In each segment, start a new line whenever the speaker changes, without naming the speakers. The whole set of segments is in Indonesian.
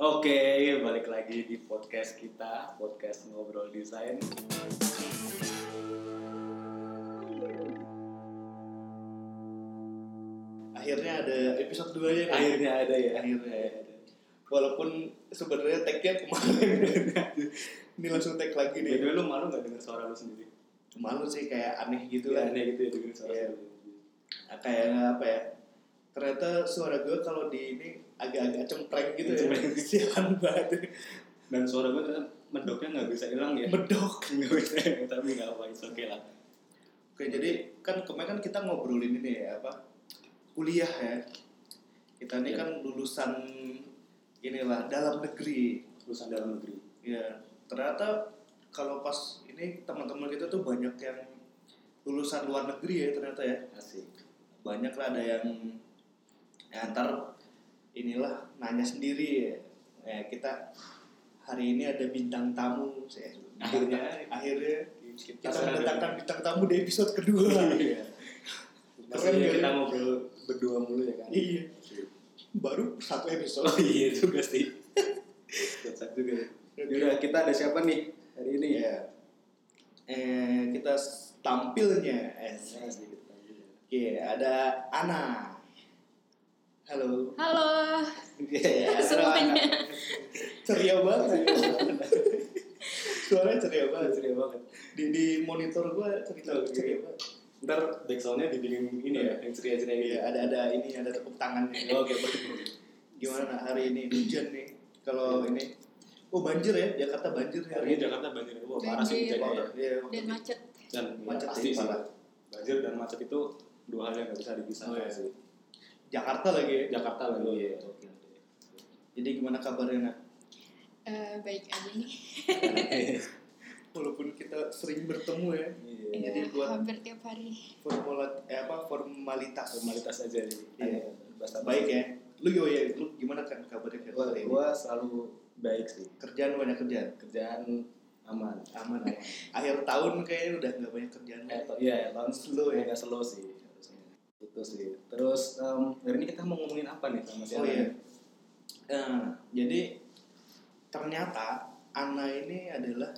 Oke, balik lagi di podcast kita, podcast ngobrol desain.
Akhirnya ada episode 2 ya. Kak.
Akhirnya ada ya.
Akhirnya
ada.
Walaupun sebenarnya tag-nya kemarin. Ini langsung tag lagi
By the way,
deh.
lu malu nggak dengar suara lu sendiri?
Malu sih kayak aneh gitu
Iya,
lah.
aneh gitu ya dengar suara
Iya.
sendiri.
Kayak apa ya? Ternyata suara gue kalau di ini agak-agak cempreng gitu ya.
Cempreng.
Sialan banget.
Dan suara gue ternyata medoknya nggak bisa hilang ya.
Medok.
Nggak bisa, tapi nggak apa, it's okay lah.
Oke, jadi kan kemarin kan kita ngobrolin ini ya apa? Kuliah ya. Kita ini
Iya.
kan lulusan inilah dalam negeri.
Lulusan dalam negeri.
Ya, ternyata kalau pas ini teman-teman kita tuh banyak yang lulusan luar negeri ya ternyata ya.
Asik.
Banyak lah ada yang ya, ntar inilah nanya sendiri ya. Ya, kita hari ini ada bintang tamu saya
Akhirnya.
akhirnya kita
Kita sudah
mendatangkan bintang tamu di episode kedua.
Iya. kan?
Keren
Maksudnya
ya.
kita ngobrol berdua mulu ya kan?
Iya. Baru satu
Oh
episode.
iya juga sih. Kocak juga. Yaudah, kita ada siapa nih hari ini?
Iya. Eh, kita s- tampilnya.
Iya,
Eh, Oke, ada Ana. Halo.
Halo,
Iya, halo,
Semuanya.
Ana. ceria banget. Suaranya ceria banget.
Ceria banget.
Di, di monitor gua cerita
Oke.
ceria banget.
Ntar backsoundnya dibikin ini ya, yang ceria-ceria gitu. Oh,
Iya, ada ada ini ada tepuk tangannya.
Oke, bagus.
Gimana Nak, hari ini hujan nih? Kalau ini Oh banjir ya, Jakarta banjir nih
Hari ini Jakarta banjir, wah parah sih
Banjir.
hujannya. ya.
Iya,
dan macet.
Dan
Macet
macet pasti
sih,
sih.
parah.
Banjir dan macet itu dua hal yang nggak bisa dipisahkan
Oh, iya.
sih.
Jakarta lagi ya.
Jakarta lagi.
Iya. Jadi gimana kabarnya nak?
Eh, baik aja nih.
Walaupun kita sering bertemu ya,
Iya.
Jadi
Eh,
buat-
hampir tiap hari.
formula eh apa formalitas.
Formalitas aja nih.
Iya.
Bahasa
Baik ya. Lu yo ya, lu gimana kan kabarnya kan
Gua,
hari ini?
gua selalu baik sih.
Kerjaan banyak kerjaan.
Kerjaan aman.
Aman aman. Akhir tahun kayaknya udah nggak banyak kerjaan
Eh,
lagi.
to- Iya, tahun slow ya.
ya.
Agak slow sih harusnya. Itu sih. Terus em, hari ini kita mau ngomongin apa nih sama siapa?
Oh iya. Nah, jadi ternyata Ana ini adalah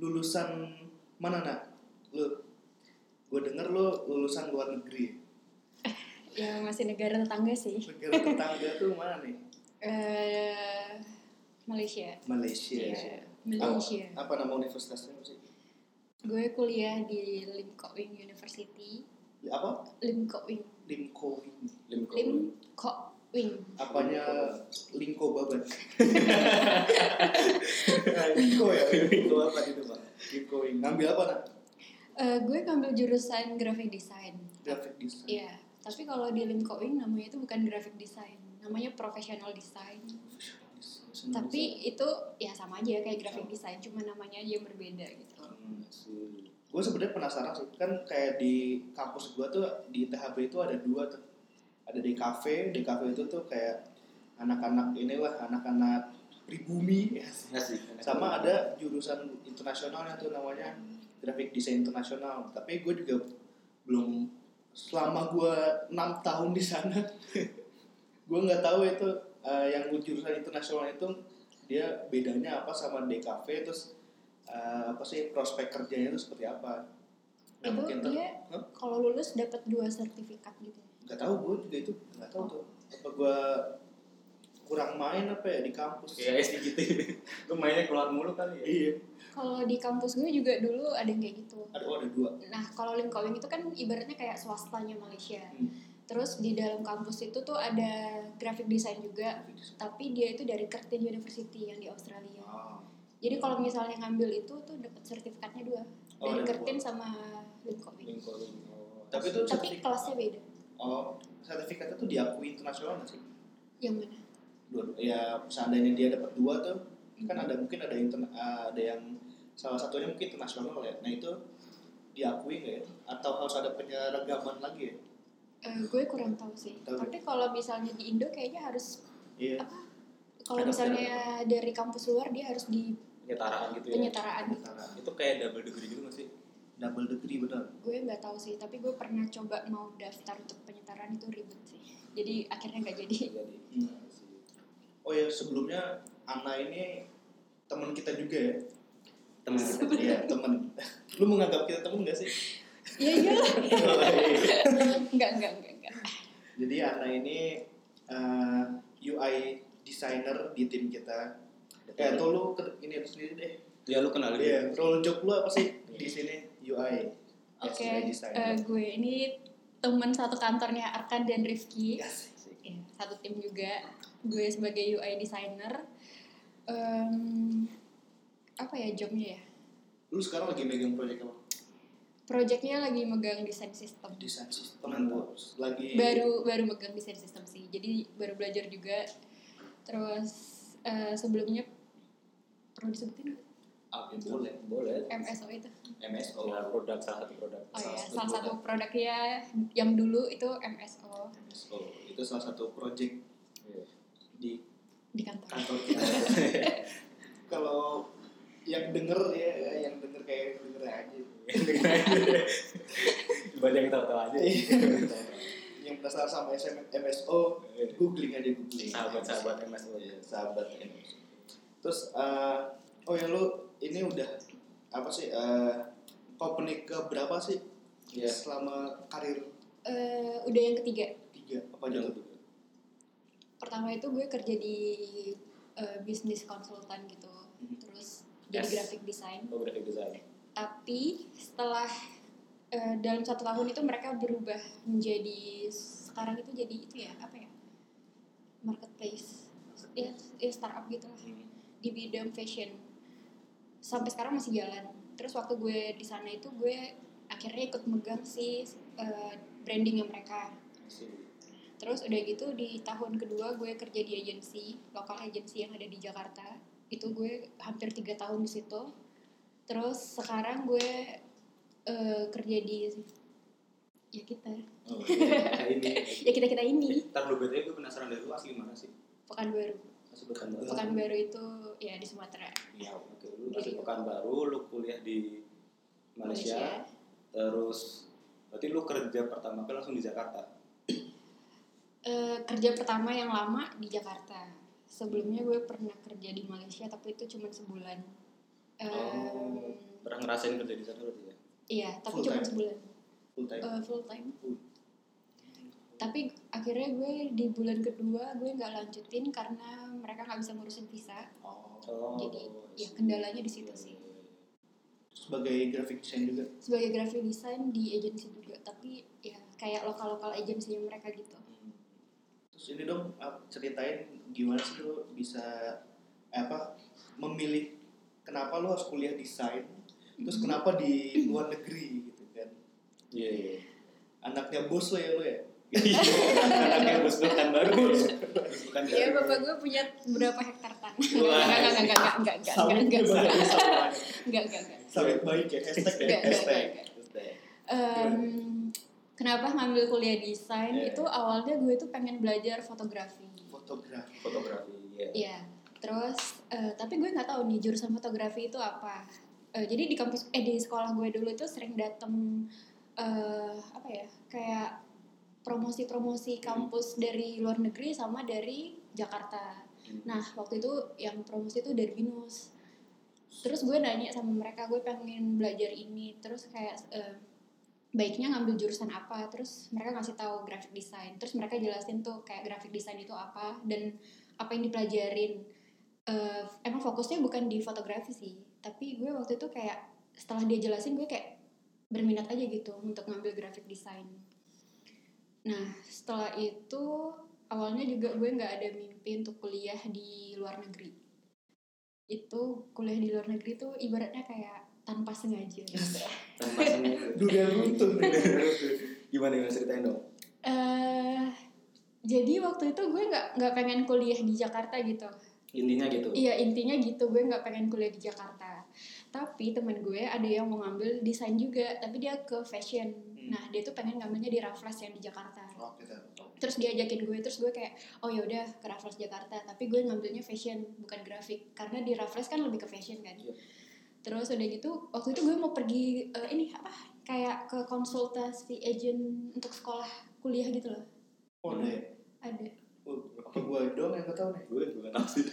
lulusan mana nak? Lu gue denger lu lulusan luar negeri.
Ya masih negara tetangga sih.
Negara tetangga tuh mana nih?
Eh, Malaysia.
Malaysia. Ah,
Iya, Malaysia.
Apa, apa nama universitasnya apa sih?
Gue kuliah di Lim Kok Wing University.
Apa?
Lim Kok Wing.
Limco Wing.
Lim Kok Wing.
Lim Kok Wing.
Apanya Lingko Babat? Lingko ya.
Itu apa gitu, Pak?
Lingko Wing. Ngambil apa nak?
Eh, gue ngambil jurusan graphic design.
Graphic design.
Iya. Tapi kalau di Lim Kok Wing namanya itu bukan graphic design. Namanya professional design.
Hmm,
Tapi itu ya sama aja kayak graphic design, cuma namanya aja yang berbeda gitu.
Gue sebenarnya penasaran sih kan kayak di kampus gue tuh di THB itu ada dua tuh. Ada di kafe, di kafe itu tuh kayak anak-anak inilah anak-anak pribumi ya. sama ada jurusan internasionalnya tuh namanya graphic design internasional tapi gue juga belum selama gue enam tahun di sana gue nggak tahu itu eh, yang jurusan internasional itu dia bedanya apa sama DKV terus eh, apa sih prospek kerjanya itu seperti apa Nah,
itu
mungkin tuh
dia
Hah?
kalau lulus dapat dua sertifikat gitu.
nggak tahu gue juga itu nggak
Oh.
tahu tuh apa gue kurang main apa ya di kampus
Kayak SD gitu. Lu mainnya keluar mulu kali ya?
iya
Kalau di kampus gue juga dulu ada yang kayak gitu.
ada oh, ada dua
Nah kalau Limkowing itu kan ibaratnya kayak swastanya Malaysia.
Hmm.
Terus di dalam kampus itu tuh ada graphic design juga, tapi dia itu dari Curtin University yang di Australia.
Ah.
Jadi kalau misalnya ngambil itu tuh dapat sertifikatnya dua,
Oh,
dari
ada
Curtin
dua.
sama Limkowing.
Lim Kok Wing. Oh,
Tapi
asik.
tuh-
Tapi
sertifikat.
kelasnya beda.
Oh, sertifikatnya tuh diakui internasional nggak sih?
Yang mana?
Dua, ya seandainya dia dapat dua tuh kan ada mungkin ada interna, eh, ada yang salah satunya mungkin internasional ya. Nah itu diakui nggak ya? Atau harus ada penyeragaman lagi ya?
Eh, gue kurang tahu sih.
Tahu.
Tapi kalau misalnya di Indo kayaknya harus
Iya.
apa? Kalau
Ada
misalnya dari kampus luar dia harus di
penyetaraan
Iya.
gitu ya.
penyetaraan.
Antara
Itu kayak double degree gitu nggak sih?
double degree benar.
Gue nggak tahu sih, tapi gue pernah coba mau Iya. daftar untuk penyetaraan itu ribet sih. Jadi akhirnya nggak jadi.
Jadi.
Hmm. oh ya sebelumnya Ana ini teman kita juga ya
teman
iya teman lu menganggap kita teman gak sih
Iya iyalah. Enggak enggak enggak enggak.
jadi Ana ini eh, UI designer di tim kita eh atau lu ke- ini sendiri deh
ya lu kenal dia
Iya, role job lu apa sih di sini UI? Yes,
Oke,
UI
eh,
designer.
gue ini temen satu kantornya Arkan dan Rifki.
Yes.
Ya, satu tim juga. Gue sebagai UI designer. Em, apa ya jobnya ya?
Lu sekarang lagi megang proyek apa?
Projectnya lagi megang desain sistem.
Desain sistem.
Mantap.
Lagi
baru baru megang desain sistem sih jadi baru belajar juga terus eh, sebelumnya perlu disebutin nggak?
Ah, ya, boleh boleh
MSO itu
MSO produk oh, salah satu produk
oh ya salah satu produknya yang dulu itu MSO
So, Oh, itu salah satu proyek
Iya.
di
di kantor
kantor kita. Kalau yang denger ya, yang denger kayak denger aja.
banyak yang tahu-tahu aja
yang penasaran sama SM, MSO, googling aja googling.
sahabat-sahabat MSO ya
Iya, sahabat Indonesia. Terus eh, oh ya lu ini udah apa sih eh company ke berapa sih
Iya.
selama karir
Eh, udah yang ketiga
tiga apa gitu. aja tuh?
pertama itu gue kerja di eh, bisnis konsultan gitu
Mhm.
terus jadi
Yes.
graphic design
Oh, graphic design
tapi setelah eh, dalam satu tahun itu mereka berubah menjadi sekarang itu jadi itu ya apa ya marketplace ya, ya startup gitu lah di bidang fashion sampai sekarang masih jalan terus waktu gue di sana itu gue akhirnya ikut megang si eh, brandingnya mereka terus udah gitu di tahun kedua gue kerja di agensi lokal agensi yang ada di Jakarta itu gue hampir tiga tahun di situ terus sekarang gue eh, kerja di ya kita
Oh, iya. ini
ya kita kita ini
Ntar lu BTW gue penasaran dari lu asli mana sih?
Pekanbaru
Asli Pekanbaru.
Pekanbaru itu ya di Sumatera
Iya, oke. Lu asli Pekanbaru, lu kuliah di Malaysia, terus berarti lu kerja pertama kali langsung di Jakarta.
Eh, kerja pertama yang lama di Jakarta sebelumnya gue pernah kerja di Malaysia tapi itu cuma sebulan Em,
Oh. Pernah ngerasain kerja di sana berarti ya?
iya tapi
Full
cuma
time?
sebulan
Full time.
Eh, full time
Full.
tapi akhirnya gue di bulan kedua gue nggak lanjutin karena mereka nggak bisa ngurusin visa
Oh.
Oh.
Jadi, ya, kendalanya di situ sih.
Sebagai graphic design juga.
sebagai graphic design di agensi juga tapi ya kayak lokal lokal agensinya mereka gitu
Terus ini dong ah, ceritain gimana sih lu bisa eh, apa memilih kenapa lu harus kuliah desain terus kenapa di luar negeri gitu kan
Iya, iya.
anaknya bos lo ya lo ya
Anaknya bos Pekanbaru. Bos Pekanbaru.
Iya bapak gue punya berapa hektar tanah
Wah.
Enggak, enggak, enggak, enggak, enggak, enggak,
Sawit
enggak,
ya,
enggak,
Bang. Sawit.
enggak, enggak, enggak.
Sawit baik ya hashtag ya
Enggak, enggak,
hashtag.
enggak. Em, Kenapa ngambil kuliah desain
Iya.
itu awalnya gue tuh pengen belajar fotografi
Fotografi.
Fotografi, iya.
Iya, terus eh, tapi gue nggak tahu nih jurusan fotografi itu apa. Eh, jadi di kampus eh di sekolah gue dulu itu sering dateng eh apa ya kayak promosi-promosi kampus dari luar negeri sama dari Jakarta.
Hmm.
Nah waktu itu yang promosi itu dari Binus. Terus gue nanya sama mereka gue pengen belajar ini terus kayak eh, baiknya ngambil jurusan apa terus mereka ngasih tahu graphic design terus mereka jelasin tuh kayak graphic design itu apa dan apa yang dipelajarin Eh, emang fokusnya bukan di fotografi sih tapi gue waktu itu kayak setelah dia jelasin gue kayak berminat aja gitu untuk ngambil graphic design nah setelah itu awalnya juga gue nggak ada mimpi untuk kuliah di luar negeri itu kuliah di luar negeri tuh ibaratnya kayak tanpa sengaja gitu.
Tanpa sengaja.
Dunia runtun.
Nah, Gimana gimana ceritain dong?
eh jadi waktu itu gue nggak nggak pengen kuliah di Jakarta gitu.
Intinya gitu.
Iya intinya gitu gue nggak pengen kuliah di Jakarta. Tapi temen gue ada yang mau ngambil desain juga, tapi dia ke fashion.
Hmm. Oh.
Nah dia tuh pengen ngambilnya di Raffles yang di Jakarta.
Oke, tahu.
Terus dia ajakin gue, terus gue kayak oh ya udah ke Raffles Jakarta, tapi gue ngambilnya fashion bukan grafik, karena di Raffles kan lebih ke fashion kan.
Iya.
Terus udah gitu waktu itu gue mau pergi eh, ini apa kayak ke konsultasi agent untuk sekolah kuliah gitu loh
Oh, ada ya?
ada
apa gue doang yang gak tau nih
gue juga nggak tahu sih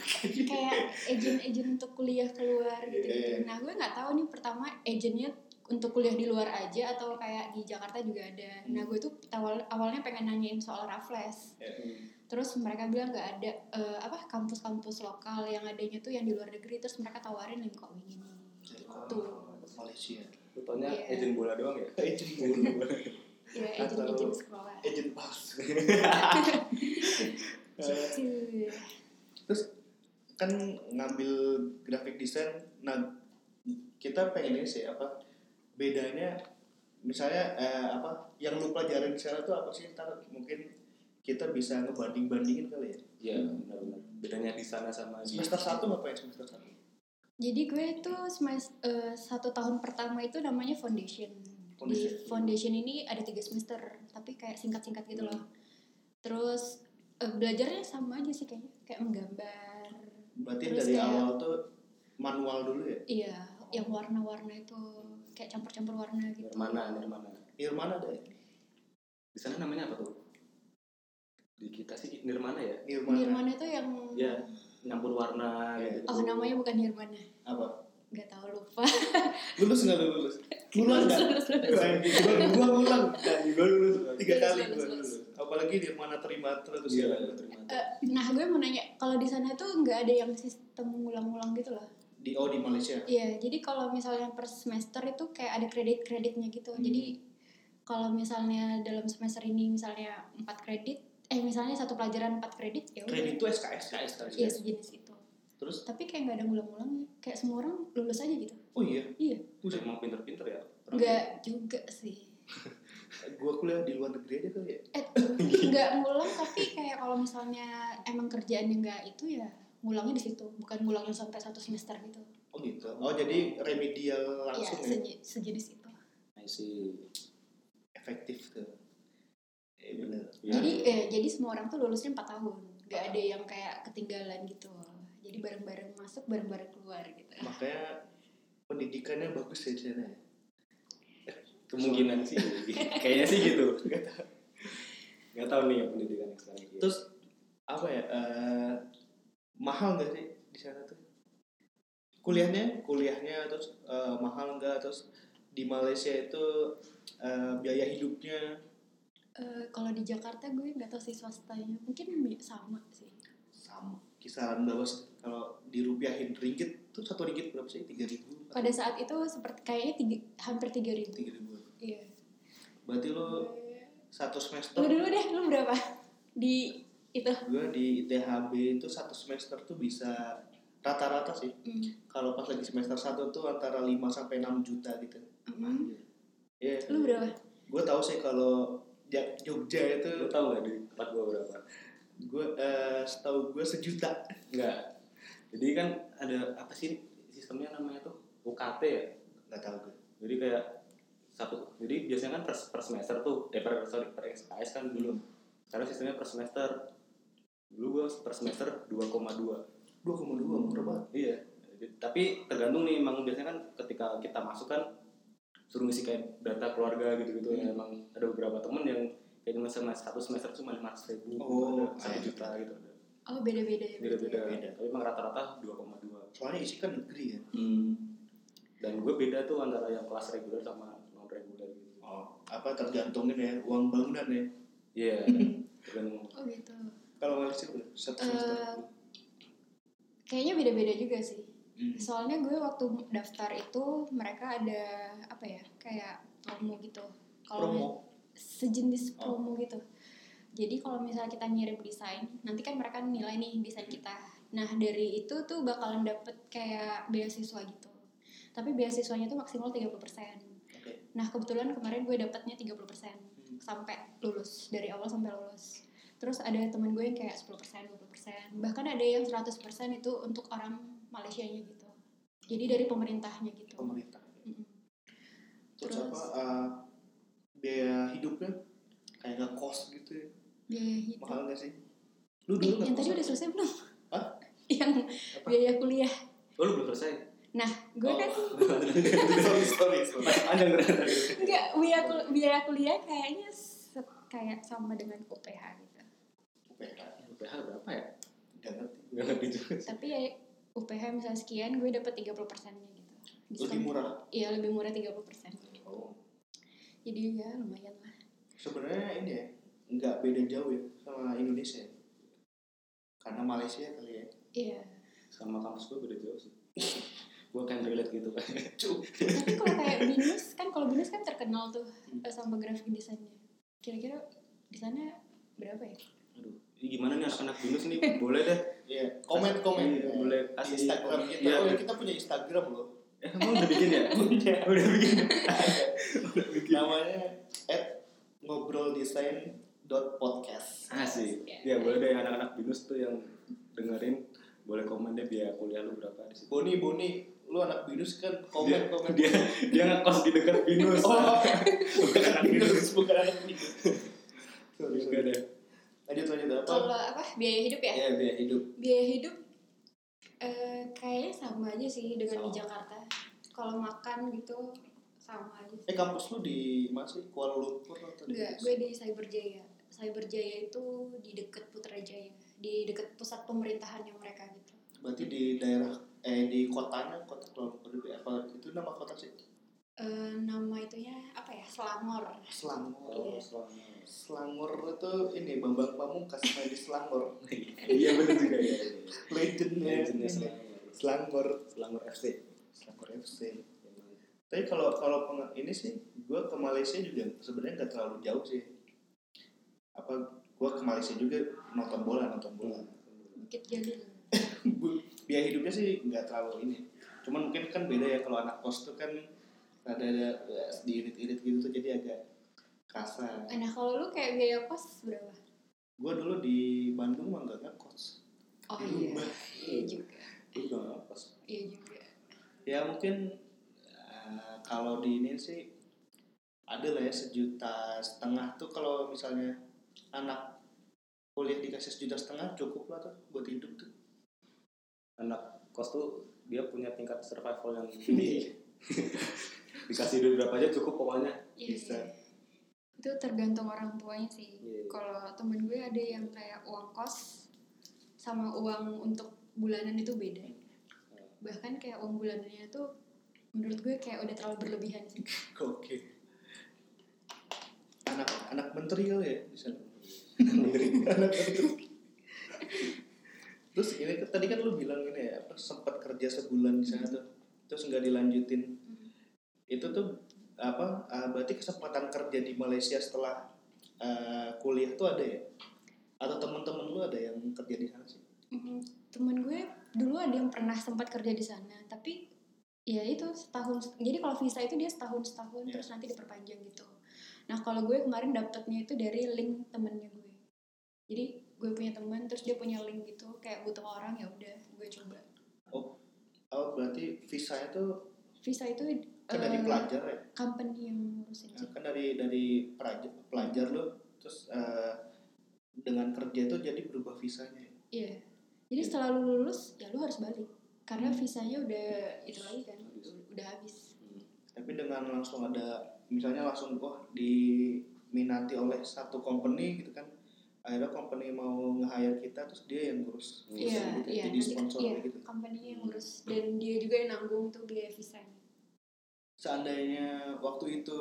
kayak agent-agent untuk kuliah keluar gitu gitu.
Iya.
Nah gue nggak tahu nih pertama agentnya untuk kuliah di luar aja atau kayak di Jakarta juga ada. Nah
Hmm.
gue tuh awal awalnya pengen nanyain soal Raffles.
Hmm.
Terus mereka bilang nggak ada eh, apa kampus-kampus lokal yang adanya tuh yang di luar negeri. Terus mereka tawarin Lincoln ini. Gitu.
Malaysia
lu taunya
Iya.
agent bola doang ya
agent bulu
Ya
Atau-
agent-agent sekolah.
agent palsu
Gitu.
terus kan ngambil graphic design nah kita pengen ini sih apa bedanya misalnya eh, apa yang lu pelajarin di sana tuh apa sih ntar mungkin kita bisa ngebanding bandingin kali ya
iya benar-benar bedanya di sana sama di
semester satu ngapain semester satu
Jadi gue itu semes- eh, satu tahun pertama itu namanya foundation.
Foundation.
Di foundation ini ada tiga semester, tapi kayak singkat-singkat gitu loh. Terus eh, belajarnya sama aja sih kayaknya, kayak menggambar.
berarti
Terus
dari
kayak-
awal tuh manual dulu ya
Iya, yang warna-warna itu kayak campur-campur warna gitu.
Nirmana Nirmana
Nirmana ada ya?
di sana namanya apa tuh di kita sih Nirmana ya
Nirmana,
Nirmana itu yang
ya nyampur warna
Iya.
gitu
Oh namanya bukan Nirmana,
apa
nggak tahu lupa.
lulus nggak lu lulus ulang nggak
Lulus, lulus, lulus.
Wah, gua gua ulang Dan gua lulus tiga
Lulus,
kali
lulus,
gua
lulus.
lulus apalagi Nirmana terima terus
Iya,
ya
terima kasih.
Eh, nah gue mau nanya, kalau di sana tuh nggak ada yang sistem ngulang-ngulang gitu loh?
di oh di Malaysia
Iya, jadi kalau misalnya per semester itu kayak ada kredit-kreditnya gitu. Jadi kalau misalnya dalam semester ini misalnya 4 kredit, eh misalnya satu pelajaran 4 kredit ya udah.
kredit itu SKS
SKS, terus.
Iya, sejenis itu.
terus
Tapi kayak nggak ada ngulang-ngulangnya. Kayak semua orang lulus aja gitu.
oh iya
Iya.
Terus emang pinter-pinter ya orang
Nggak juga sih.
gua kuliah di luar negeri aja kali ya
Eh, nggak ngulang tapi kayak kalau misalnya emang kerjaannya nggak itu ya ngulangnya di situ, bukan ngulang yang sampai satu semester gitu.
oh gitu oh jadi remedial
Iya,
langsung ya
seje- sejenis itu.
I see
efektif tuh eh bener
Ya.
Jadi eh, jadi semua orang tuh lulusnya 4 tahun. Gak ada yang kayak ketinggalan gitu. Jadi bareng-bareng masuk, bareng-bareng keluar gitu.
makanya pendidikannya bagus ya di sana ya.
kemungkinan sih kayaknya sih gitu nggak tahu nih pendidikan yang sekarang gitu.
terus apa ya eh, mahal nggak sih di sana tuh kuliahnya kuliahnya terus eh, mahal nggak terus di Malaysia itu eh, biaya hidupnya
Eh, kalau di Jakarta gue nggak tahu sih swastanya. Mungkin mi- sama sih.
sama kisaran berapa sih? kalau dirupiahin ringgit tuh satu ringgit berapa sih tiga ribu
Pada saat itu seperti kayaknya tiga, hampir 3000.
tiga ribu
Iya.
berarti lo
Lu
satu semester
dulu deh, lu berapa? Di itu.
gue di ITHB itu satu semester tuh bisa rata-rata sih
Mm.
kalau pas lagi semester satu tuh antara 5 sampai 6 juta gitu
Mm.
Iya.
Lu berapa?
gue tahu sih kalau Ja- Jogja
lu
itu
tahu nggak di tempat gua berapa
gue setahu gue sejuta
nggak jadi kan ada apa sih sistemnya namanya tuh UKT ya
nggak tahu gue
jadi kayak satu jadi biasanya kan per, per semester tuh eh per sorry per SKS kan
Hmm.
dulu sekarang sistemnya per semester dulu gua per semester 2,2
dua koma dua murah banget
iya Jadi- tapi tergantung nih emang biasanya kan ketika kita masuk kan suruh ngisi kayak data keluarga gitu-gitu ya
Hmm.
emang ada beberapa temen yang kayak cuma semester satu semester cuma lima ratus ribu
Oh,
satu
iya.
juta gitu ada
Oh, beda-beda ya.
beda-beda
Beda.
tapi emang rata-rata 2,2
soalnya isi kan negeri ya
dan gue beda tuh antara yang kelas reguler sama non reguler gitu
oh apa tergantungin ya uang bangunan ya
iya tergantung
Oh gitu.
kalau Malaysia udah satu semester
Eh, Kayaknya beda-beda juga sih.
Hmm.
Soalnya gue waktu daftar itu mereka ada apa ya kayak promo gitu.
promo
sejenis promo gitu. Jadi kalau misalnya kita ngirim desain, nanti kan mereka nilai nih desain kita. Nah dari itu tuh bakalan dapet kayak beasiswa gitu. Tapi beasiswanya tuh maksimal 30%.
oke
Nah kebetulan kemarin gue dapetnya 30% sampai lulus dari awal sampai lulus. Terus ada teman gue yang kayak 10%, 20%, bahkan ada yang 100% itu untuk orang Malaysianya gitu. Jadi dari pemerintahnya gitu.
pemerintah
Mm-mm.
terus,
Terus?
apa eh, biaya hidupnya kayak nggak kos gitu ya.
Biaya hidup.
mahal nggak sih lu
Eh,
dulu
yang
nggak
tadi
kos
udah selesai belum?
Hah?
yang
Apa?
biaya kuliah.
oh lu belum selesai
Nah, gue
Oh.
kan
sorry sorry sorry
panjang ternyata
enggak biaya, kul- biaya kuliah kayaknya se- kayak sama dengan UPH gitu.
UPH.
oke UPH berapa ya?
Gak ngerti.
Gak ngerti juga. sih.
tapi ya UPH misalnya sekian gue dapat 30 persennya gitu
Lebih
Diskon.
murah.
iya lebih murah 30 persen
Oh.
jadi ya lumayan lah
Sebenarnya ini ya nggak beda jauh ya sama Indonesia. ya. Karena Malaysia kali ya.
iya
Sama kampus gue beda jauh sih. gue kan relate gitu kan.
tapi kalau kayak binus kan kalau binus kan terkenal tuh eh, sama grafik desainnya kira-kira di sana berapa ya
Aduh, ini gimana nih anak-anak binus nih? Boleh deh.
Iya. Komen komen.
Iya, boleh.
Di Instagram
Iya.
kita. Oh ya, kita punya Instagram loh.
Emang udah bikin ya?
Punya.
udah bikin.
Namanya at ngobrol desain dot podcast.
Asik. Ya
Iya.
boleh deh anak-anak binus tuh yang dengerin boleh komen deh biaya kuliah lu berapa di situ.
Boni Boni, lu anak binus kan
Dia,
komen komen.
dia, dia ngekos di dekat binus.
Oh,
bukan anak binus.
binus bukan anak binus. Sorry,
Juga
sorry.
deh.
Lanjut lanjut apa?
kalau apa biaya hidup ya
Ya biaya hidup.
biaya hidup eh, kayaknya sama aja sih dengan di
Sama.
Jakarta kalau makan gitu sama aja sih.
Eh kampus lu di mana sih? Kuala Lumpur atau di?
Enggak, gue di Cyberjaya. Cyberjaya itu di deket Putrajaya, di deket pusat pemerintahannya mereka gitu.
Berarti di daerah eh di kotanya kota Kuala Lumpur di apa itu nama kota sih?
Eh, nama itunya apa ya? Selangor.
Selangor.
Iya.
Oh. Selangor itu ini Bambang Pamungkas main di Selangor.
Iya bener juga ya. Iya,
Legendnya.
Legendnya Selangor.
Selangor.
Selangor FC.
Selangor FC. Tapi kalau kalau peng- ini sih, gue ke Malaysia juga sebenarnya nggak terlalu jauh sih. Apa gue ke Malaysia juga nonton bola nonton
Iya.
bola.
Bukit Jalil.
Bu- Biaya hidupnya sih nggak terlalu ini. Cuman mungkin kan beda ya kalau anak kos tuh kan ada ada ya, diirit-irit gitu tuh jadi agak kasar.
Eh, Nah, kalau lu kayak biaya kos berapa?
Gue dulu di Bandung mah nggak ngekos.
Oh
Di
iya.
rumah.
Iya juga.
Lu juga ngekos.
Iya juga.
Ya mungkin eh, kalau di ini sih ada lah ya sejuta setengah tuh kalau misalnya anak kuliah dikasih sejuta setengah cukup lah tuh buat hidup tuh.
anak kos tuh dia punya tingkat survival yang tinggi dikasih duit berapa aja cukup pokoknya
Iya.
Bisa.
iya. Itu tergantung orang tuanya sih.
Iya.
Kalau temen gue ada yang kayak uang kos sama uang untuk bulanan itu beda. Bahkan kayak uang bulanannya tuh menurut gue kayak udah terlalu berlebihan sih.
Oke. Anak anak menteri kali ya di sana. anak menteri. Terus ini tadi kan lu bilang ini ya apa, sempat kerja sebulan di sana tuh terus nggak dilanjutin itu tuh apa eh, berarti kesempatan kerja di Malaysia setelah eh, kuliah tuh ada ya atau temen-temen lu ada yang kerja di sana sih
Mm, temen gue dulu ada yang pernah sempat kerja di sana tapi ya itu setahun jadi kalau visa itu dia setahun setahun
Iya.
terus nanti diperpanjang gitu nah kalau gue kemarin dapetnya itu dari link temennya gue jadi gue punya teman terus dia punya link gitu kayak butuh orang ya udah gue coba
oh oh berarti visanya tuh
visa itu
kan
eh,
dari pelajar ya
company yang ngurusin
Nah,
sih.
kan dari dari pelajar pelajar lo terus eh, dengan kerja itu jadi berubah visanya
iya jadi setelah lu lulus ya lu harus balik karena visanya udah itu lagi kan udah habis
Iya.
tapi dengan langsung ada misalnya langsung oh diminati oleh satu company gitu kan akhirnya company mau nge-hire kita terus dia yang ngurus
Iya,
Gitu,
iya.
jadi sponsor
iya,
gitu
company yang ngurus dan dia juga yang nanggung tuh biaya visanya.
seandainya waktu itu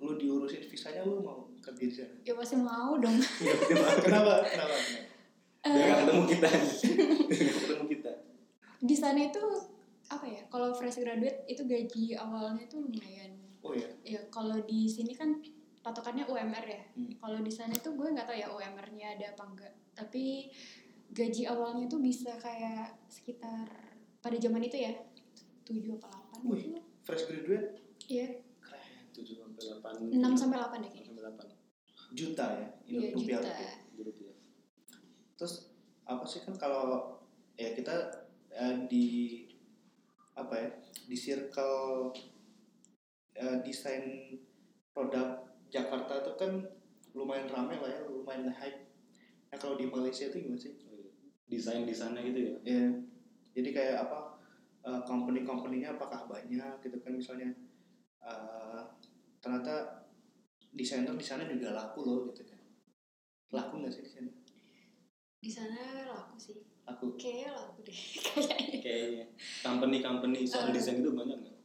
lu diurusin visanya lu mau kerja di sana Gitu,
Ya pasti mau dong.
kenapa kenapa
biar gak ketemu kita
Eh.
Biar gak ketemu kita
Di sana itu apa ya? Kalau fresh graduate itu gaji awalnya tuh lumayan.
oh ya
Ya kalau di sini kan patokannya UMR ya.
Hmm.
Kalau di sana tuh gue nggak tahu ya UMR-nya ada apa enggak. Tapi gaji awalnya tuh bisa kayak sekitar pada zaman itu ya 7 apa 8
Wih.
gitu.
fresh graduate
Iya,
keren
tujuh sampai delapan
6 sampai 8 deh
Enam
kayaknya.
sampai delapan Gitu,
juta ya
Iya,
ini rupiah
juta.
Jadi dia.
terus apa sih kan kalau ya kita eh, di apa ya di circle eh, desain produk Jakarta itu kan lumayan rame lah ya lumayan hype nah kalau di Malaysia itu gimana sih
desain di sana Oh, iya. gitu ya
ya jadi kayak apa eh, company-companynya apakah banyak gitu kan misalnya eh, ternyata desainer di sana juga laku loh gitu kan laku nggak sih di sana
di sana laku sih
aku
kayaknya laku deh kayaknya
kayaknya company company soal
Eh.
desain itu banyak nggak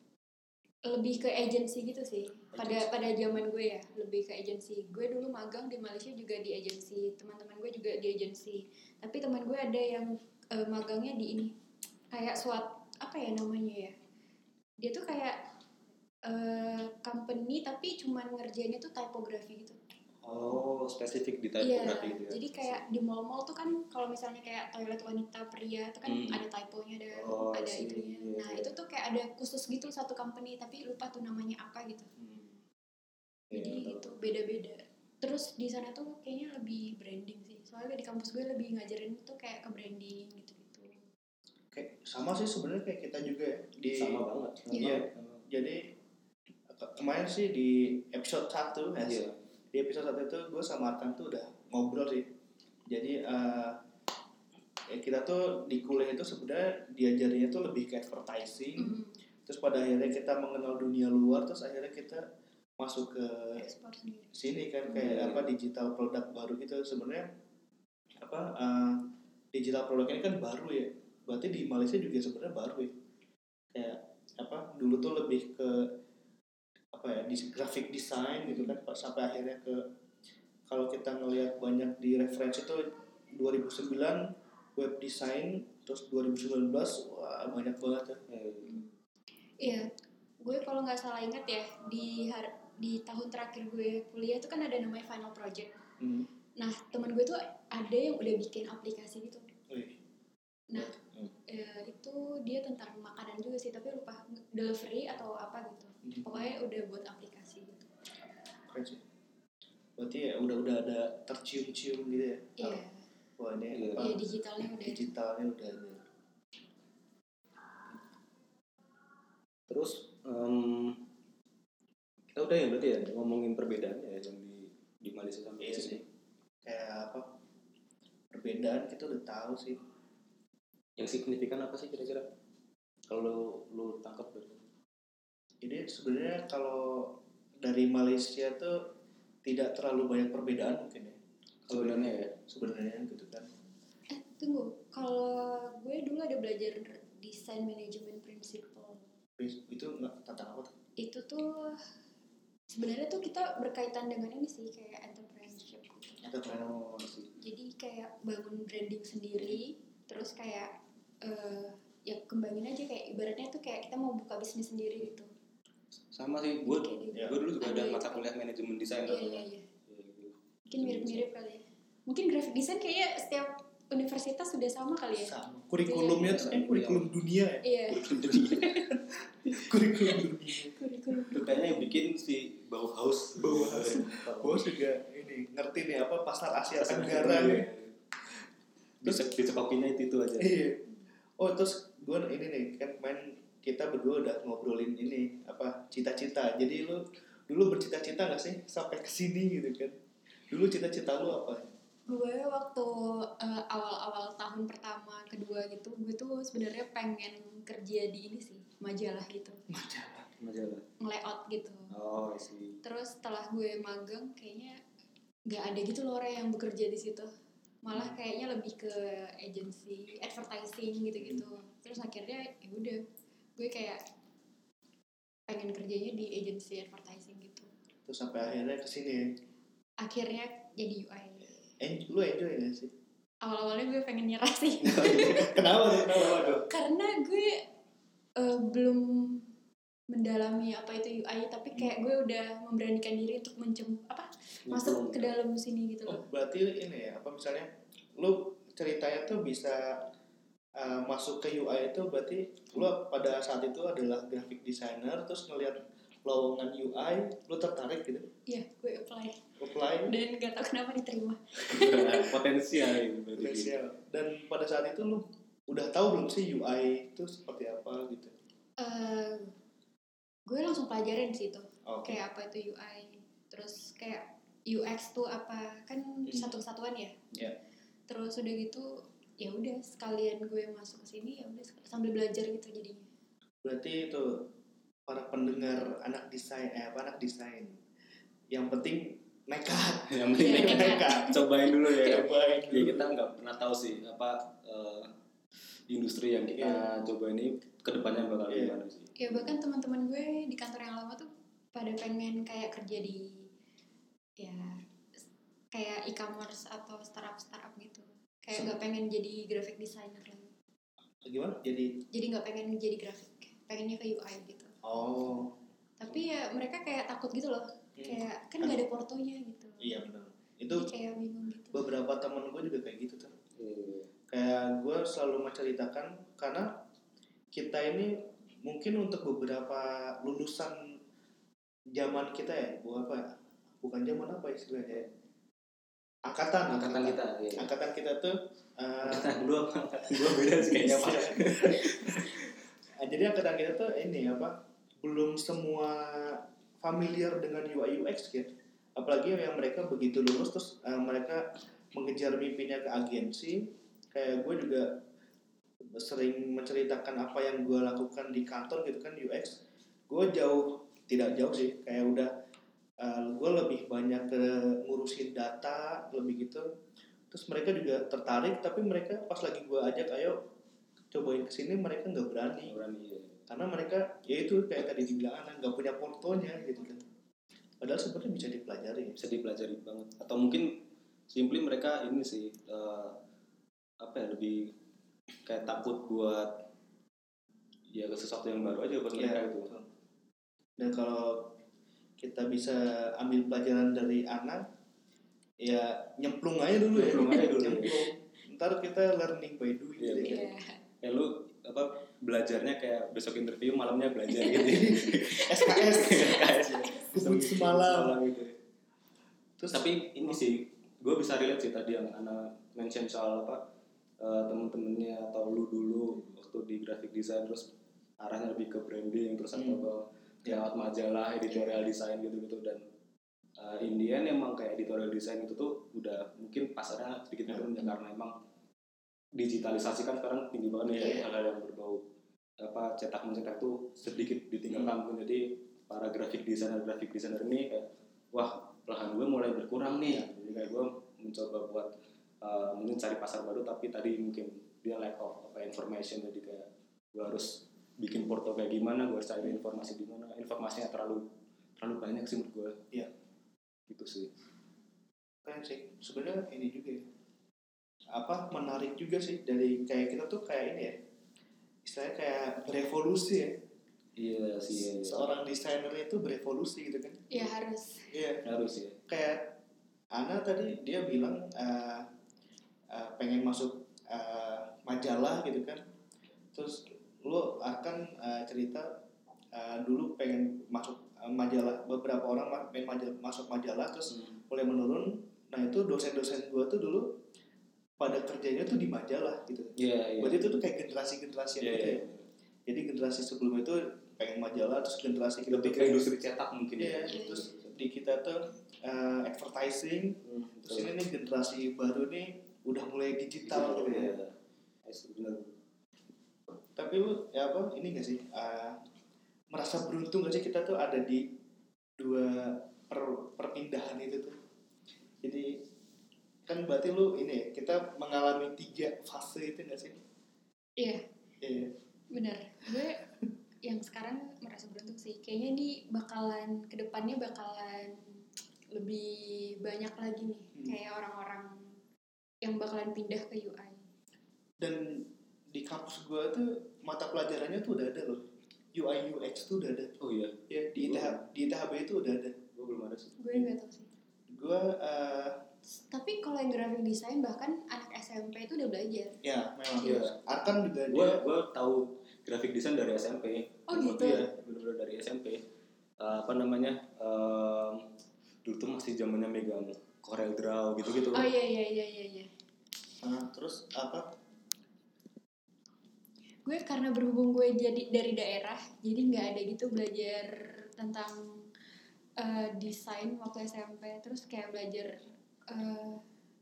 lebih ke agency gitu sih pada pada zaman gue ya lebih ke agency gue dulu magang di Malaysia juga di agency teman-teman gue juga di agency tapi teman gue ada yang eh, magangnya di ini kayak suat apa ya namanya ya dia tuh kayak eh, company tapi cuman ngerjainnya tuh typografi gitu
oh spesifik di
Iya,
typography gitu ya
jadi kayak di mall-mall tuh kan kalau misalnya kayak toilet wanita pria itu kan
Hmm.
ada typonya ada
Oh, I
ada
see.
itunya.
Iya,
Nah,
iya.
itu tuh kayak ada khusus gitu satu company tapi lupa tuh namanya apa gitu.
Hmm. Iya,
Jadi
betul.
gitu beda-beda. Terus di sana tuh kayaknya lebih branding sih. Soalnya di kampus gue lebih ngajarin tuh kayak ke branding gitu-gitu.
kayak sama sih sebenarnya kayak kita juga ya di
sama banget
Iya.
Iya.
jadi ke- kemarin sih di episode 1 ya
Iya.
di episode 1 itu gue sama Arkan tuh udah ngobrol sih jadi eh, ya kita tuh di kuliah itu sebenarnya diajarinya tuh lebih
Hmm.
ke advertising
Mm,
terus pada akhirnya kita mengenal dunia luar terus akhirnya kita masuk ke
Eh.
ekspor sendiri.
sini kan kayak
Hmm.
apa digital produk baru gitu sebenarnya apa eh, digital produk ini kan baru ya berarti di Malaysia juga sebenarnya baru ya kayak apa dulu tuh lebih ke apa ya di graphic design gitu kan Pak, sampai akhirnya ke kalau kita ngelihat banyak di referensi tuh 2009 web design terus 2019 wah banyak banget ya
Mm-hmm. Iya, gue kalau nggak salah ingat ya di har- di tahun terakhir gue kuliah tuh kan ada namanya final project.
Hmm.
Nah, teman gue tuh ada yang udah bikin aplikasi gitu.
Wih.
Nah,
Hmm.
eh, itu dia tentang makanan juga sih, tapi lupa delivery atau apa gitu.
Hmm.
Pokoknya udah buat aplikasi gitu.
Keren sih. Berarti ya udah udah ada tercium-cium gitu ya.
Iya,
Wah ini
Iya.
apa?
iya digitalnya udah.
digitalnya udah ada.
terus em, kita udah ya berarti ya ngomongin perbedaannya ya yang di di Malaysia sama
Iya
Indonesia
sih. Kayak apa? Perbedaan kita udah tahu sih.
yang signifikan apa sih kira-kira kalau lu, lu tangkap dari
Jadi sebenarnya kalau dari Malaysia tuh tidak terlalu banyak perbedaan mungkin ya. Kalau
sebenarnya ya
sebenarnya gitu kan.
Eh, tunggu. Kalau gue dulu ada belajar desain manajemen principle.
Terus Itu nggak tentang apa? tuh?
Itu tuh sebenarnya tuh kita berkaitan dengan ini sih kayak entrepreneurship gitu.
Kita pengen
oh sih
jadi kayak bangun branding sendiri terus kayak eh, ya kembangin aja kayak ibaratnya tuh kayak kita mau buka bisnis sendiri gitu
sama sih gue
Kayak gitu.
Ya.
gue dulu juga ada
Ada
mata
itu.
kuliah manajemen desain
iya
kan.
iya iya
Iya, gitu.
mungkin mirip-mirip kali ya mungkin graphic design kayaknya setiap universitas sudah sama kali ya
sama. Kurikulumnya tuh eh, kurikulum dunia ya.
iya
Kurikulum dunia.
Kurikulum dunia.
kurikulum
Itu kayaknya yang bikin si Bauhaus
Bauhaus. Bos juga ini ngerti nih apa pasar Asia
Iya.
Tenggara nih.
bisa dicekokinya itu, itu aja
Iya. Oh terus gue ini nih kan main kita berdua udah ngobrolin ini apa cita-cita. Jadi lu dulu bercita-cita gak sih sampai kesini gitu kan? Dulu cita-cita lu apa?
gue waktu eh, awal-awal tahun pertama kedua gitu gue tuh sebenarnya pengen kerja di ini sih majalah gitu
Majalah.
majalah
layout gitu
oh sih
terus setelah gue magang kayaknya nggak ada gitu loh orang yang bekerja di situ malah kayaknya lebih ke agency advertising gitu-gitu terus akhirnya ya udah gue kayak pengen kerjanya di agency advertising gitu
Terus sampai akhirnya kesini ya.
akhirnya jadi UI
En- lu enjoy gak sih?
awal-awalnya gue pengen nyerah sih
kenapa? tuh? Kenapa? tuh?
karena gue eh, belum mendalami apa itu UI tapi
Hmm.
kayak gue udah memberanikan diri untuk mencem apa masuk ke dalam sini
Gitu.
gitu
Oh,
loh
berarti ini ya apa misalnya lu ceritanya tuh bisa uh, masuk ke UI itu berarti lu pada saat itu adalah graphic designer terus ngelihat lowongan UI lu tertarik gitu
iya gue apply
apply
dan gak tau kenapa diterima
potensial itu berarti.
Potensial. Dan pada saat itu lu udah tahu belum sih UI itu seperti apa gitu?
Eh, gue langsung pelajarin sih itu
Oke.
kayak apa itu UI terus kayak UX tuh apa kan satu kesatuan ya
Hmm. Iya.
terus udah gitu ya udah sekalian gue masuk ke sini ya udah sambil belajar gitu jadinya
Berarti itu para pendengar anak desain eh apa anak desain. Yang penting nekat
yang penting
Iya, nekat.
cobain dulu ya
Cobain
ya
dulu.
kita nggak pernah tahu sih apa eh, industri yang kita
Iya.
coba ini kedepannya bakal
Iya.
gimana sih
ya bahkan teman-teman gue di kantor yang lama tuh pada pengen kayak kerja di ya s- kayak e-commerce atau startup startup gitu kayak nggak pengen jadi graphic designer lagi
gimana jadi
jadi nggak pengen jadi grafik pengennya ke UI gitu
oh
tapi ya mereka kayak takut gitu loh
Hmm.
kayak kan nggak ada portonya gitu
iya benar itu
Jadi kayak bingung gitu
beberapa temen gue juga kayak gitu tuh
Iya.
kayak gue selalu menceritakan karena kita ini mungkin untuk beberapa lulusan zaman kita ya bu apa ya? bukan zaman apa istilahnya ya? angkatan
angkatan kita iya.
angkatan kita tuh eh,
angkatan dua apa angkatan dua beda sih kayaknya pak
Nah, jadi angkatan kita tuh ini apa belum semua familiar dengan UI UX gitu apalagi yang mereka begitu lulus terus eh, mereka mengejar mimpinya ke agensi kayak gue juga sering menceritakan apa yang gue lakukan di kantor gitu kan UX gue jauh tidak jauh sih kayak udah gue lebih banyak ke ngurusin data lebih gitu terus mereka juga tertarik tapi mereka pas lagi gue ajak ayo cobain kesini mereka nggak berani
Orang iya.
karena mereka ya itu kayak tadi dibilang anak nggak punya portonya gitu kan padahal sebenarnya bisa dipelajari
bisa dipelajari banget atau mungkin simply mereka ini sih eh, apa ya lebih kayak takut buat ya sesuatu yang baru aja buat mereka gitu.
Iya,
itu
betul. dan kalau kita bisa ambil pelajaran dari anak ya nyemplung aja dulu ya
Nyemplung aja dulu.
Nyemplung. ntar kita learning by doing
Iya,
gitu ya.
Iya.
ya lu apa belajarnya kayak besok interview malamnya belajar gitu
SKS
Kayak
Kebut semalam.
gitu
terus
tapi ini sih gue bisa relate sih tadi yang Ana mention soal apa eh, temen-temennya atau lu dulu waktu di graphic design terus arahnya lebih ke branding terus atau
Hmm.
ke lewat majalah editorial design gitu-gitu dan eh, in the end emang kayak editorial design itu tuh udah mungkin pasarnya sedikit turun ya karena emang digitalisasi kan sekarang tinggi banget ya
Iya.
hal-hal yang berbau apa cetak mencetak tuh sedikit ditinggalkan pun jadi para graphic designer graphic designer ini kayak wah lahan gue mulai berkurang nih jadi kayak gue mencoba buat uh, mungkin cari pasar baru tapi tadi mungkin dia lack of apa information jadi kayak gue harus bikin porto kayak gimana gue harus cari informasi di mana informasinya terlalu terlalu banyak sih menurut gue
Iya.
gitu sih
keren sih sebenarnya ini juga ya apa menarik juga sih dari kayak kita tuh kayak ini ya istilahnya kayak berevolusi ya
iya sih iya,
seorang desainer itu berevolusi gitu kan
ya harus
iya
iya. harus ya
kayak Ana tadi dia bilang eh, eh, pengen masuk eh, majalah gitu kan terus lu akan eh, cerita eh, dulu pengen masuk eh, majalah beberapa orang ma- pengen majalah, masuk majalah terus mulai menurun nah itu dosen-dosen gua tuh dulu pada kerjanya tuh di majalah gitu
iya iya
berarti itu tuh kayak generasi-generasi
Iya,
gitu
iya.
ya jadi generasi sebelum itu pengen majalah terus generasi kita
lebih
tuh
ke
pengen-
industri cetak mungkin ya.
Iya, terus di kita tuh eh, advertising
Hmm,
terus ini nih generasi baru nih udah mulai digital gitu
Iya.
ya
Bener.
tapi lu ya apa ini gak sih eh, merasa beruntung gak sih kita tuh ada di dua per- perpindahan itu tuh jadi kan berarti lu ini ya, kita mengalami tiga fase itu gak sih
iya
Iya.
Bener, gue yang sekarang merasa beruntung sih. Kayaknya ini bakalan kedepannya bakalan lebih banyak lagi nih,
Hmm.
kayak orang-orang yang bakalan pindah ke UI.
dan di kampus gua tuh mata pelajarannya tuh udah ada loh UI UX tuh udah ada
Oh iya,
ya di ITH, di ITHB itu udah ada
gue belum ada sih.
Gue nggak tahu sih.
gua eh,
Tapi kalau yang graphic design bahkan anak SMP itu udah belajar.
ya memang
Iya.
Arkan juga
Gue
dia
gue tahu grafik desain dari SMP.
Iya. Oh,
Gua-
gitu?
Iya, benar-benar dari SMP. Eh, apa namanya? em, dulu tuh masih zamannya megang Corel Draw gitu-gitu.
Oh iya iya iya iya. iya.
Nah, terus apa
Gue karena berhubung gue jadi dari daerah, jadi nggak ada gitu belajar tentang eh, desain waktu SMP. Terus kayak belajar eh,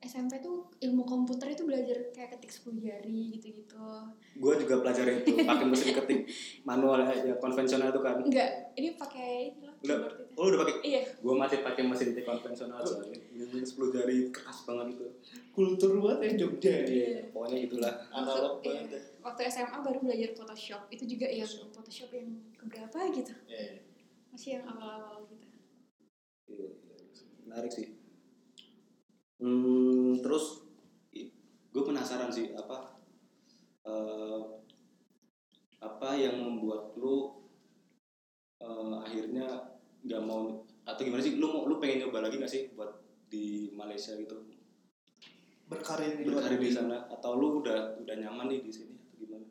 SMP tuh ilmu komputer itu belajar kayak ketik 10 jari gitu-gitu
gue juga pelajari itu pakai mesin ketik manual ya konvensional itu kan
enggak ini pakai ini loh
Enggak.
keyboard itu
oh lu udah pakai
iya
gue masih pakai mesin ketik konvensional
Oh.
soalnya Bener-bener 10 jari keras banget itu
kultur banget ya Jogja ya.
Iya, pokoknya itulah
analog
Iya.
banget ya.
waktu SMA baru belajar Photoshop itu juga yang Photoshop yang keberapa gitu
ya. Ya.
masih yang awal-awal gitu
Iya, menarik sih hmm, terus gue penasaran sih apa eh, apa yang membuat lu eh, akhirnya nggak mau atau gimana sih lu mau lu pengen nyoba lagi nggak sih buat di Malaysia gitu
berkarir di luar
berkarir di
negeri.
sana atau lu udah udah nyaman nih di sini atau gimana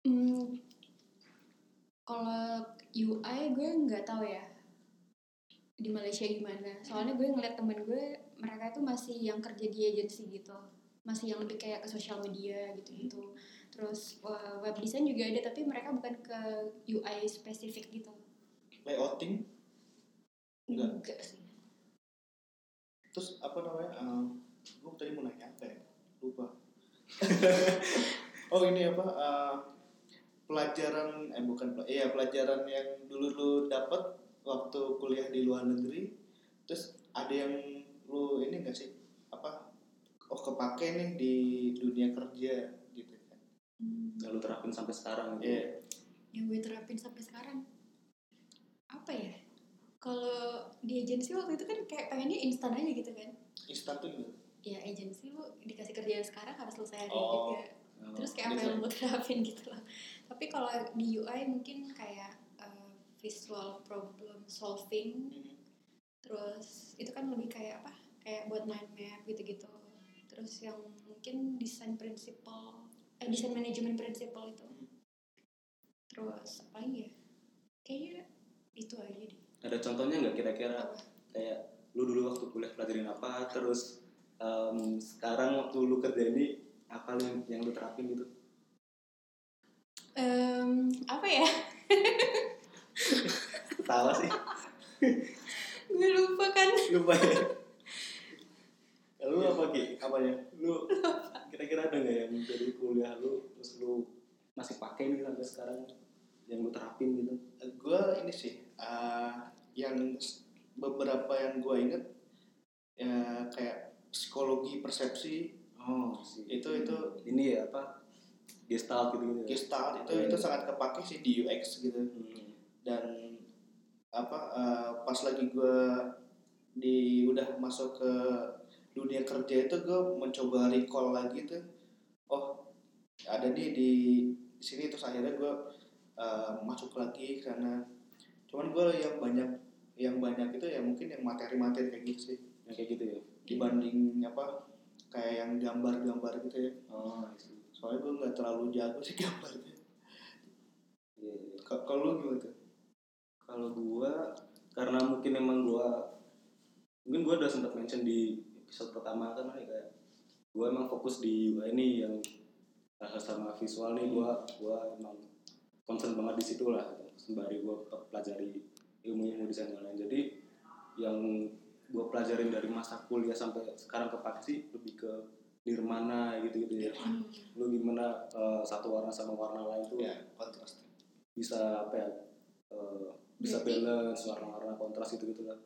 Hmm, kalau UI gue nggak tahu ya di Malaysia gimana. Soalnya gue ngeliat temen gue mereka tuh masih yang kerja di agensi gitu, masih yang lebih kayak ke sosial media gitu-gitu. Terus uh, web design juga ada tapi mereka bukan ke UI spesifik gitu.
layouting Enggak.
sih.
terus apa namanya eh gue tadi mau nanya apa ya lupa oh ini apa eh, pelajaran eh bukan pel- iya pelajaran yang dulu lu dapet waktu kuliah di luar negeri terus ada yang lu ini gak sih apa oh kepake nih di dunia kerja gitu kan
Hmm,
nggak lu terapin sampai sekarang gitu
Iya.
yang gue terapin sampai sekarang apa ya? Kalau di agensi waktu itu kan kayak pengennya instan aja gitu kan.
instan tuh gitu
ya agensi lu dikasih kerjaan sekarang harus selesai hari ini
Oh,
juga
Oh,
terus kayak apa yang lu terapin gitu loh tapi kalau di UI mungkin kayak eh, visual problem solving terus itu kan lebih kayak apa kayak buat mind map gitu-gitu terus yang mungkin desain prinsipal eh desain manajemen prinsipal itu terus apa lagi ya kayaknya itu aja deh
ada contohnya nggak kira-kira
apa
kayak lu dulu waktu kuliah pelajarin apa terus em, sekarang waktu lu kerja ini apa lu yang, yang lu terapin gitu
Em, apa ya
tawa sih
gue lupa kan
lupa ya lu apa ki
apa ya
lu kira-kira ada nggak yang dari kuliah lu terus lu masih pakai nih sampai sekarang yang lu terapin gitu
gue ini sih eh, yang s- beberapa yang gue inget ya kayak psikologi persepsi
oh sih
itu itu
ini ya apa gestalt gitu gitu ya?
gestalt itu itu sangat kepake sih di UX gitu
Hmm.
dan apa eh, pas lagi gue di udah masuk ke dunia kerja itu gue mencoba recall lagi tuh oh ada nih di sini terus akhirnya gue masuk lagi karena cuman gue yang banyak yang banyak itu ya mungkin yang materi-materi kayak gitu sih
yang kayak gitu ya
dibanding apa kayak yang gambar-gambar gitu ya
oh I see.
soalnya gue nggak terlalu jago sih gambarnya
Iya, iya.
Ka- kalau lu gimana tuh
kalau gua karena mungkin emang gua mungkin gua udah sempat mention di episode pertama kan ya kayak gua emang fokus di UI nih yang eh, sama visual nih gua gua emang concern banget di situ lah gitu. sembari gua pe- pelajari ilmu-ilmu desain dan lain jadi yang gua pelajarin dari masa kuliah sampai sekarang kepake sih lebih ke nirmana gitu-gitu ya lu gimana eh, satu warna sama warna lain Iya, tuh
ya kontras
bisa apa ya eh, bisa
Berarti-
balance warna-warna kontras gitu gitu lah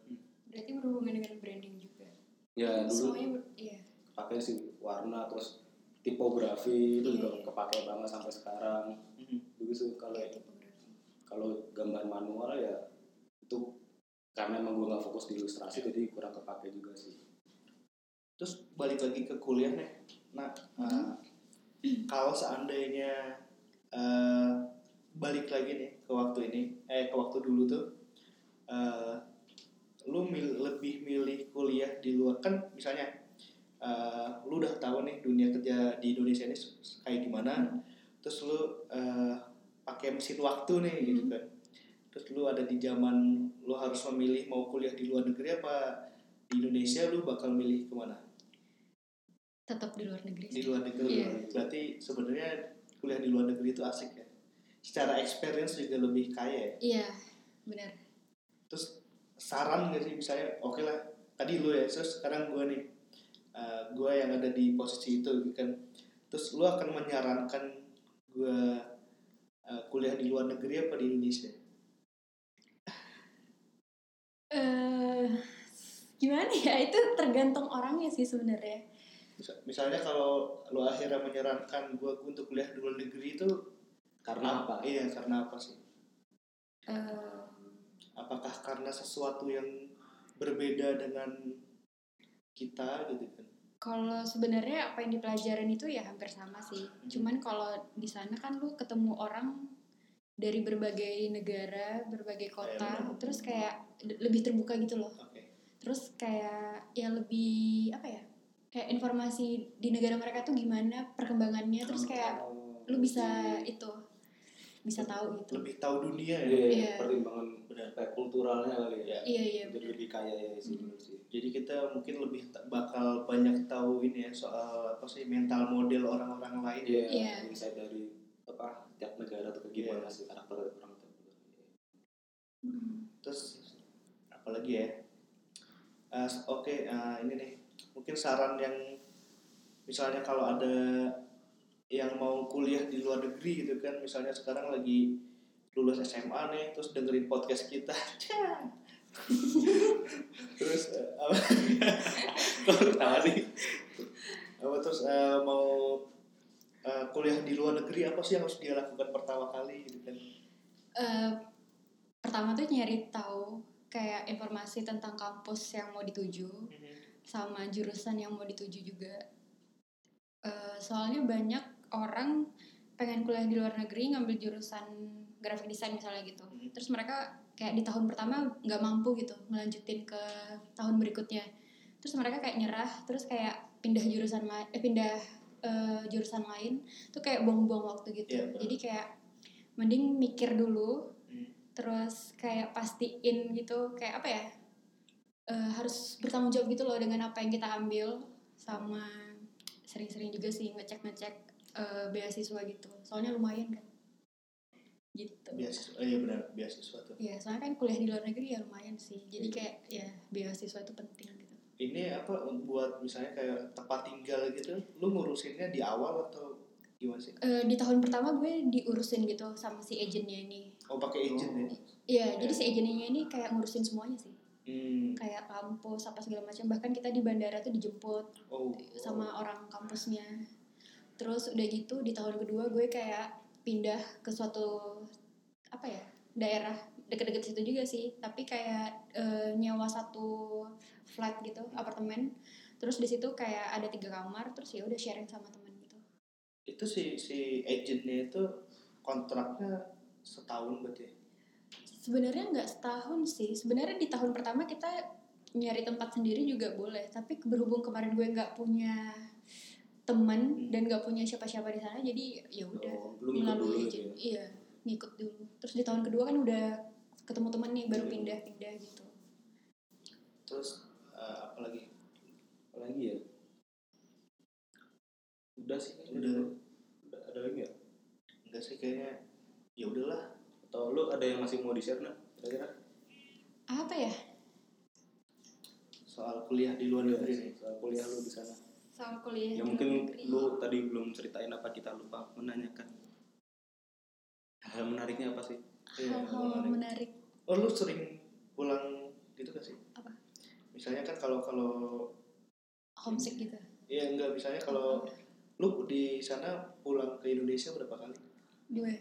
berarti berhubungan dengan branding juga
ya dulu
semuanya ber- iya
pakai sih warna terus tipografi itu
Iya,
juga
iya.
kepake banget sampai sekarang
Hmm.
begitu kalau
Iya.
kayak tipografi
kalau gambar manual ya itu karena emang gue nggak fokus di ilustrasi jadi kurang kepake juga sih
terus balik lagi ke kuliah nih nah eh, kalau seandainya eh, balik lagi nih ke waktu ini eh ke waktu dulu tuh eh, lu mil- lebih milih kuliah di luar kan misalnya eh, lu udah tahu nih dunia kerja di Indonesia ini se- se- kayak gimana terus lu eh, pakai mesin waktu nih gitu
Mhm.
kan terus lu ada di zaman lu harus memilih mau kuliah di luar negeri apa di Indonesia lu bakal milih kemana
tetap di luar negeri
di
sih.
luar negeri
Iya.
berarti sebenarnya kuliah di luar negeri itu asik ya secara experience juga lebih kaya ya
iya benar
terus saran gak sih misalnya oke lah tadi lu ya terus sekarang gue nih eh, gue yang ada di posisi itu gitu kan terus lu akan menyarankan gue eh, kuliah di luar negeri apa di Indonesia
eh gimana ya itu tergantung orangnya sih sebenarnya
Misa- misalnya kalau lu akhirnya menyarankan gue untuk kuliah di luar negeri itu
Karena apa?
iya karena apa sih
Eh,
apakah karena sesuatu yang berbeda dengan kita gitu kan
kalau sebenarnya apa yang dipelajarin itu ya hampir sama sih
Hmm.
cuman kalau di sana kan lu ketemu orang dari berbagai negara berbagai kota
Iya, benar.
terus kayak d- lebih terbuka gitu loh
oke
terus kayak ya lebih apa ya kayak informasi di negara mereka tuh gimana perkembangannya
Hmm,
terus kayak Iya. lu bisa itu bisa tahu gitu
lebih tahu dunia ya
Iya,
Iya.
pertimbangan
Benar.
kayak kulturalnya kali ya.
iya iya
Jadi lebih kaya ya sih bener sih.
jadi kita mungkin lebih ta- bakal banyak tahu ini ya soal apa sih mental model orang-orang lain
Iya,
Iya.
insight dari apa tiap negara tuh kayak gimana sih karakter orang itu.
Hmm.
terus apalagi ya Eh, s- oke eh, ini nih mungkin saran yang misalnya kalau ada yang mau kuliah di luar negeri gitu kan misalnya sekarang lagi lulus SMA nih terus dengerin podcast kita terus eh, apa Kok ketawa sih? Apa, terus eh, mau eh, kuliah di luar negeri apa sih yang harus dia lakukan pertama kali gitu kan
Eh, pertama tuh nyari tahu kayak informasi tentang kampus yang mau dituju
Mm-hmm.
sama jurusan yang mau dituju juga Eh, soalnya banyak orang pengen kuliah di luar negeri ngambil jurusan graphic design misalnya gitu
Hmm.
terus mereka kayak di tahun pertama nggak mampu gitu ngelanjutin ke tahun berikutnya terus mereka kayak nyerah terus kayak pindah jurusan lain eh pindah eh, jurusan lain tuh kayak buang-buang waktu gitu
Iya, benar.
jadi kayak mending mikir dulu
Hmm.
terus kayak pastiin gitu kayak apa ya eh, harus bertanggung jawab gitu loh dengan apa yang kita ambil sama sering-sering juga sih ngecek ngecek beasiswa gitu soalnya lumayan kan gitu
biasa eh, iya benar beasiswa tuh
ya soalnya kan kuliah di luar negeri ya lumayan sih jadi kayak ya beasiswa itu penting gitu
ini apa buat misalnya kayak tempat tinggal gitu lu ngurusinnya di awal atau gimana sih
Eh, di tahun pertama gue diurusin gitu sama si agentnya ini
oh pakai agent ya
Iya, jadi si agennya ini kayak ngurusin semuanya sih,
hmm.
kayak kampus apa segala macam. Bahkan kita di bandara tuh dijemput
oh
sama orang kampusnya terus udah gitu di tahun kedua gue kayak pindah ke suatu apa ya daerah deket-deket situ juga sih tapi kayak eh, nyewa satu flat gitu apartemen terus di situ kayak ada tiga kamar terus ya udah sharing sama temen gitu
itu si si agentnya itu kontraknya setahun berarti ya?
sebenarnya nggak setahun sih sebenarnya di tahun pertama kita nyari tempat sendiri juga boleh tapi berhubung kemarin gue nggak punya temen
Hmm.
dan nggak punya siapa-siapa di sana jadi ya udah
Oh, belum ikut dulu gitu
melalui aja.
ya.
iya ngikut dulu terus di tahun kedua kan udah ketemu temen nih
Iya.
baru pindah-pindah gitu
terus eh, apalagi
Apalagi ya? Udah sih kayaknya.
Udah.
Udah ada lagi ya?
enggak sih kayaknya ya udahlah
Atau lu ada yang masih mau di-share nah? Kira-kira?
apa ya
soal kuliah di luar negeri nih
Soal kuliah lu di sana.
soal kuliah
Ya
di
mungkin
luar negeri.
lu tadi belum ceritain apa kita lupa menanyakan. Hal menariknya apa sih?
Iya,
hal-hal
menarik.
menarik
Oh lu sering pulang gitu gak sih?
Apa?
Misalnya kan kalau kalau
homesick gitu
ya enggak misalnya kalau lu di sana pulang ke Indonesia berapa kali?
gue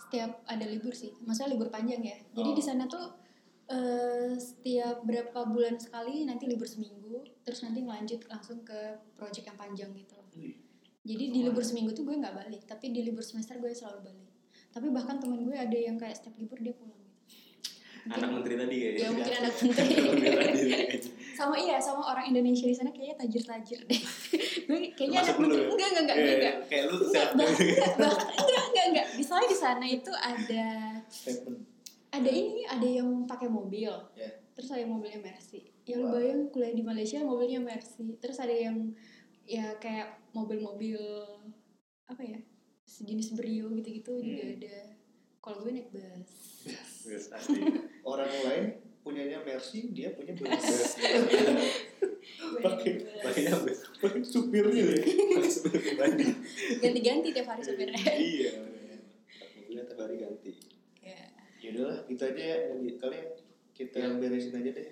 setiap ada libur sih maksudnya libur panjang ya jadi
Oh.
di sana tuh eh, setiap berapa bulan sekali nanti libur seminggu terus nanti lanjut langsung ke project yang panjang gitu jadi di libur seminggu tuh gue nggak balik tapi di libur semester gue selalu balik tapi bahkan temen gue ada yang kayak setiap libur dia pulang gitu
Anak menteri tadi kayaknya.
ya mungkin anak
Menteri tadi.
menteri sama iya sama orang Indonesia di sana kayaknya tajir-tajir deh gue kayaknya anak
Termasuk lu ya?
menteri enggak enggak enggak
Iya,
enggak
Kayak lu
Enggak,
siap.
bah- enggak, bah- enggak, enggak, enggak. Misalnya di sana itu ada
Statement.
ada ini, ada yang pakai mobil.
Ya.
Terus ada yang mobilnya Mercy. Ya lu
Wah.
bayang kuliah di Malaysia mobilnya Mercy. Terus ada yang ya kayak mobil-mobil apa ya? Sejenis Brio gitu-gitu juga
Hmm.
ada. Kalau gue naik bus.
Yes, asli.
Orang lain punyanya Mercy dia punya Benz Pakai-
Makanya gue
Pakai supirnya ya
sebenarnya pribadi.
ganti-ganti tiap hari supirnya
Iya. Mobilnya tiap hari ganti.
ya
yaudah lah gitu aja ya. kali ya kita
Iya.
beresin aja deh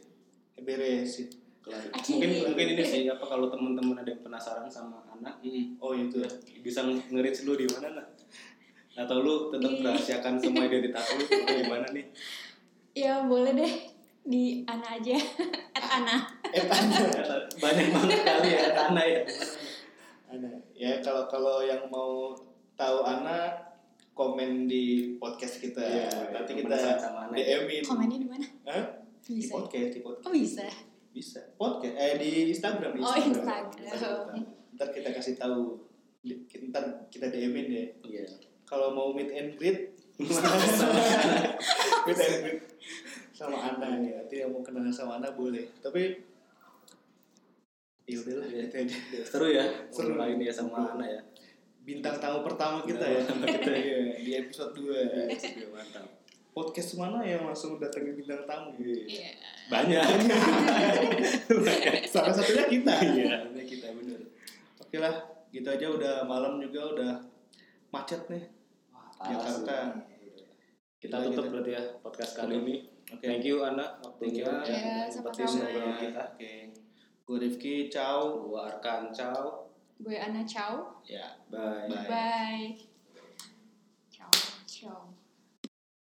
Eh, beresin
Kelar.
Iya.
Akhirnya.
gitu. Mungkin mungkin ini sih apa kalau teman-teman ada yang penasaran sama anak
oh itu lah
bisa ngerits lu di mana nah? Atau lu tetap
Di-
rahasiakan semua identitas lu atau gimana nih?
ya boleh deh di Ana aja at Ana
eh tanya
Banyak banget kali ya tanah ya.
Ana. Ya kalau kalau yang mau tahu Ana komen di podcast kita.
Iya,
Nanti
yang
kita
penasaran sama Ana.
DM-in.
komennya di mana
Hah? Di
bisa ya?
podcast, di podcast.
oh bisa
Bisa. Podcast eh di Instagram di
oh
Instagram.
Instagram
Ntar kita kasih tahu Di- ntar kita DM-in ya.
Iya.
Kalau mau meet and greet meet and greet sama Ana ya. Nanti yang mau kenalan sama Ana boleh. Tapi ya udahlah
Iya.
gitu aja.
Seru ya.
Seru.
Seru lain ya sama anak ya.
Bintang tamu pertama kita ya.
Bintang tamu kita.
Iya, di episode ya. 2.
Seru, Mantap.
podcast mana yang langsung datangin bintang tamu
iya
Banyak.
salah satunya kita
Iya, ini kita bener.
oke lah gitu aja udah malam juga udah macet nih Jakarta
Kita tutup berarti ya podcast kali ini.
oke
Thank you Ana waktunya.
Thank you.
dan
Iya,
sempetin
sama-sama.
ngobrol kita.
oke gue Rifki ciao
Gua Arkan, ciao.
gue Ana ciao
ya
Bye.
Bye.
bye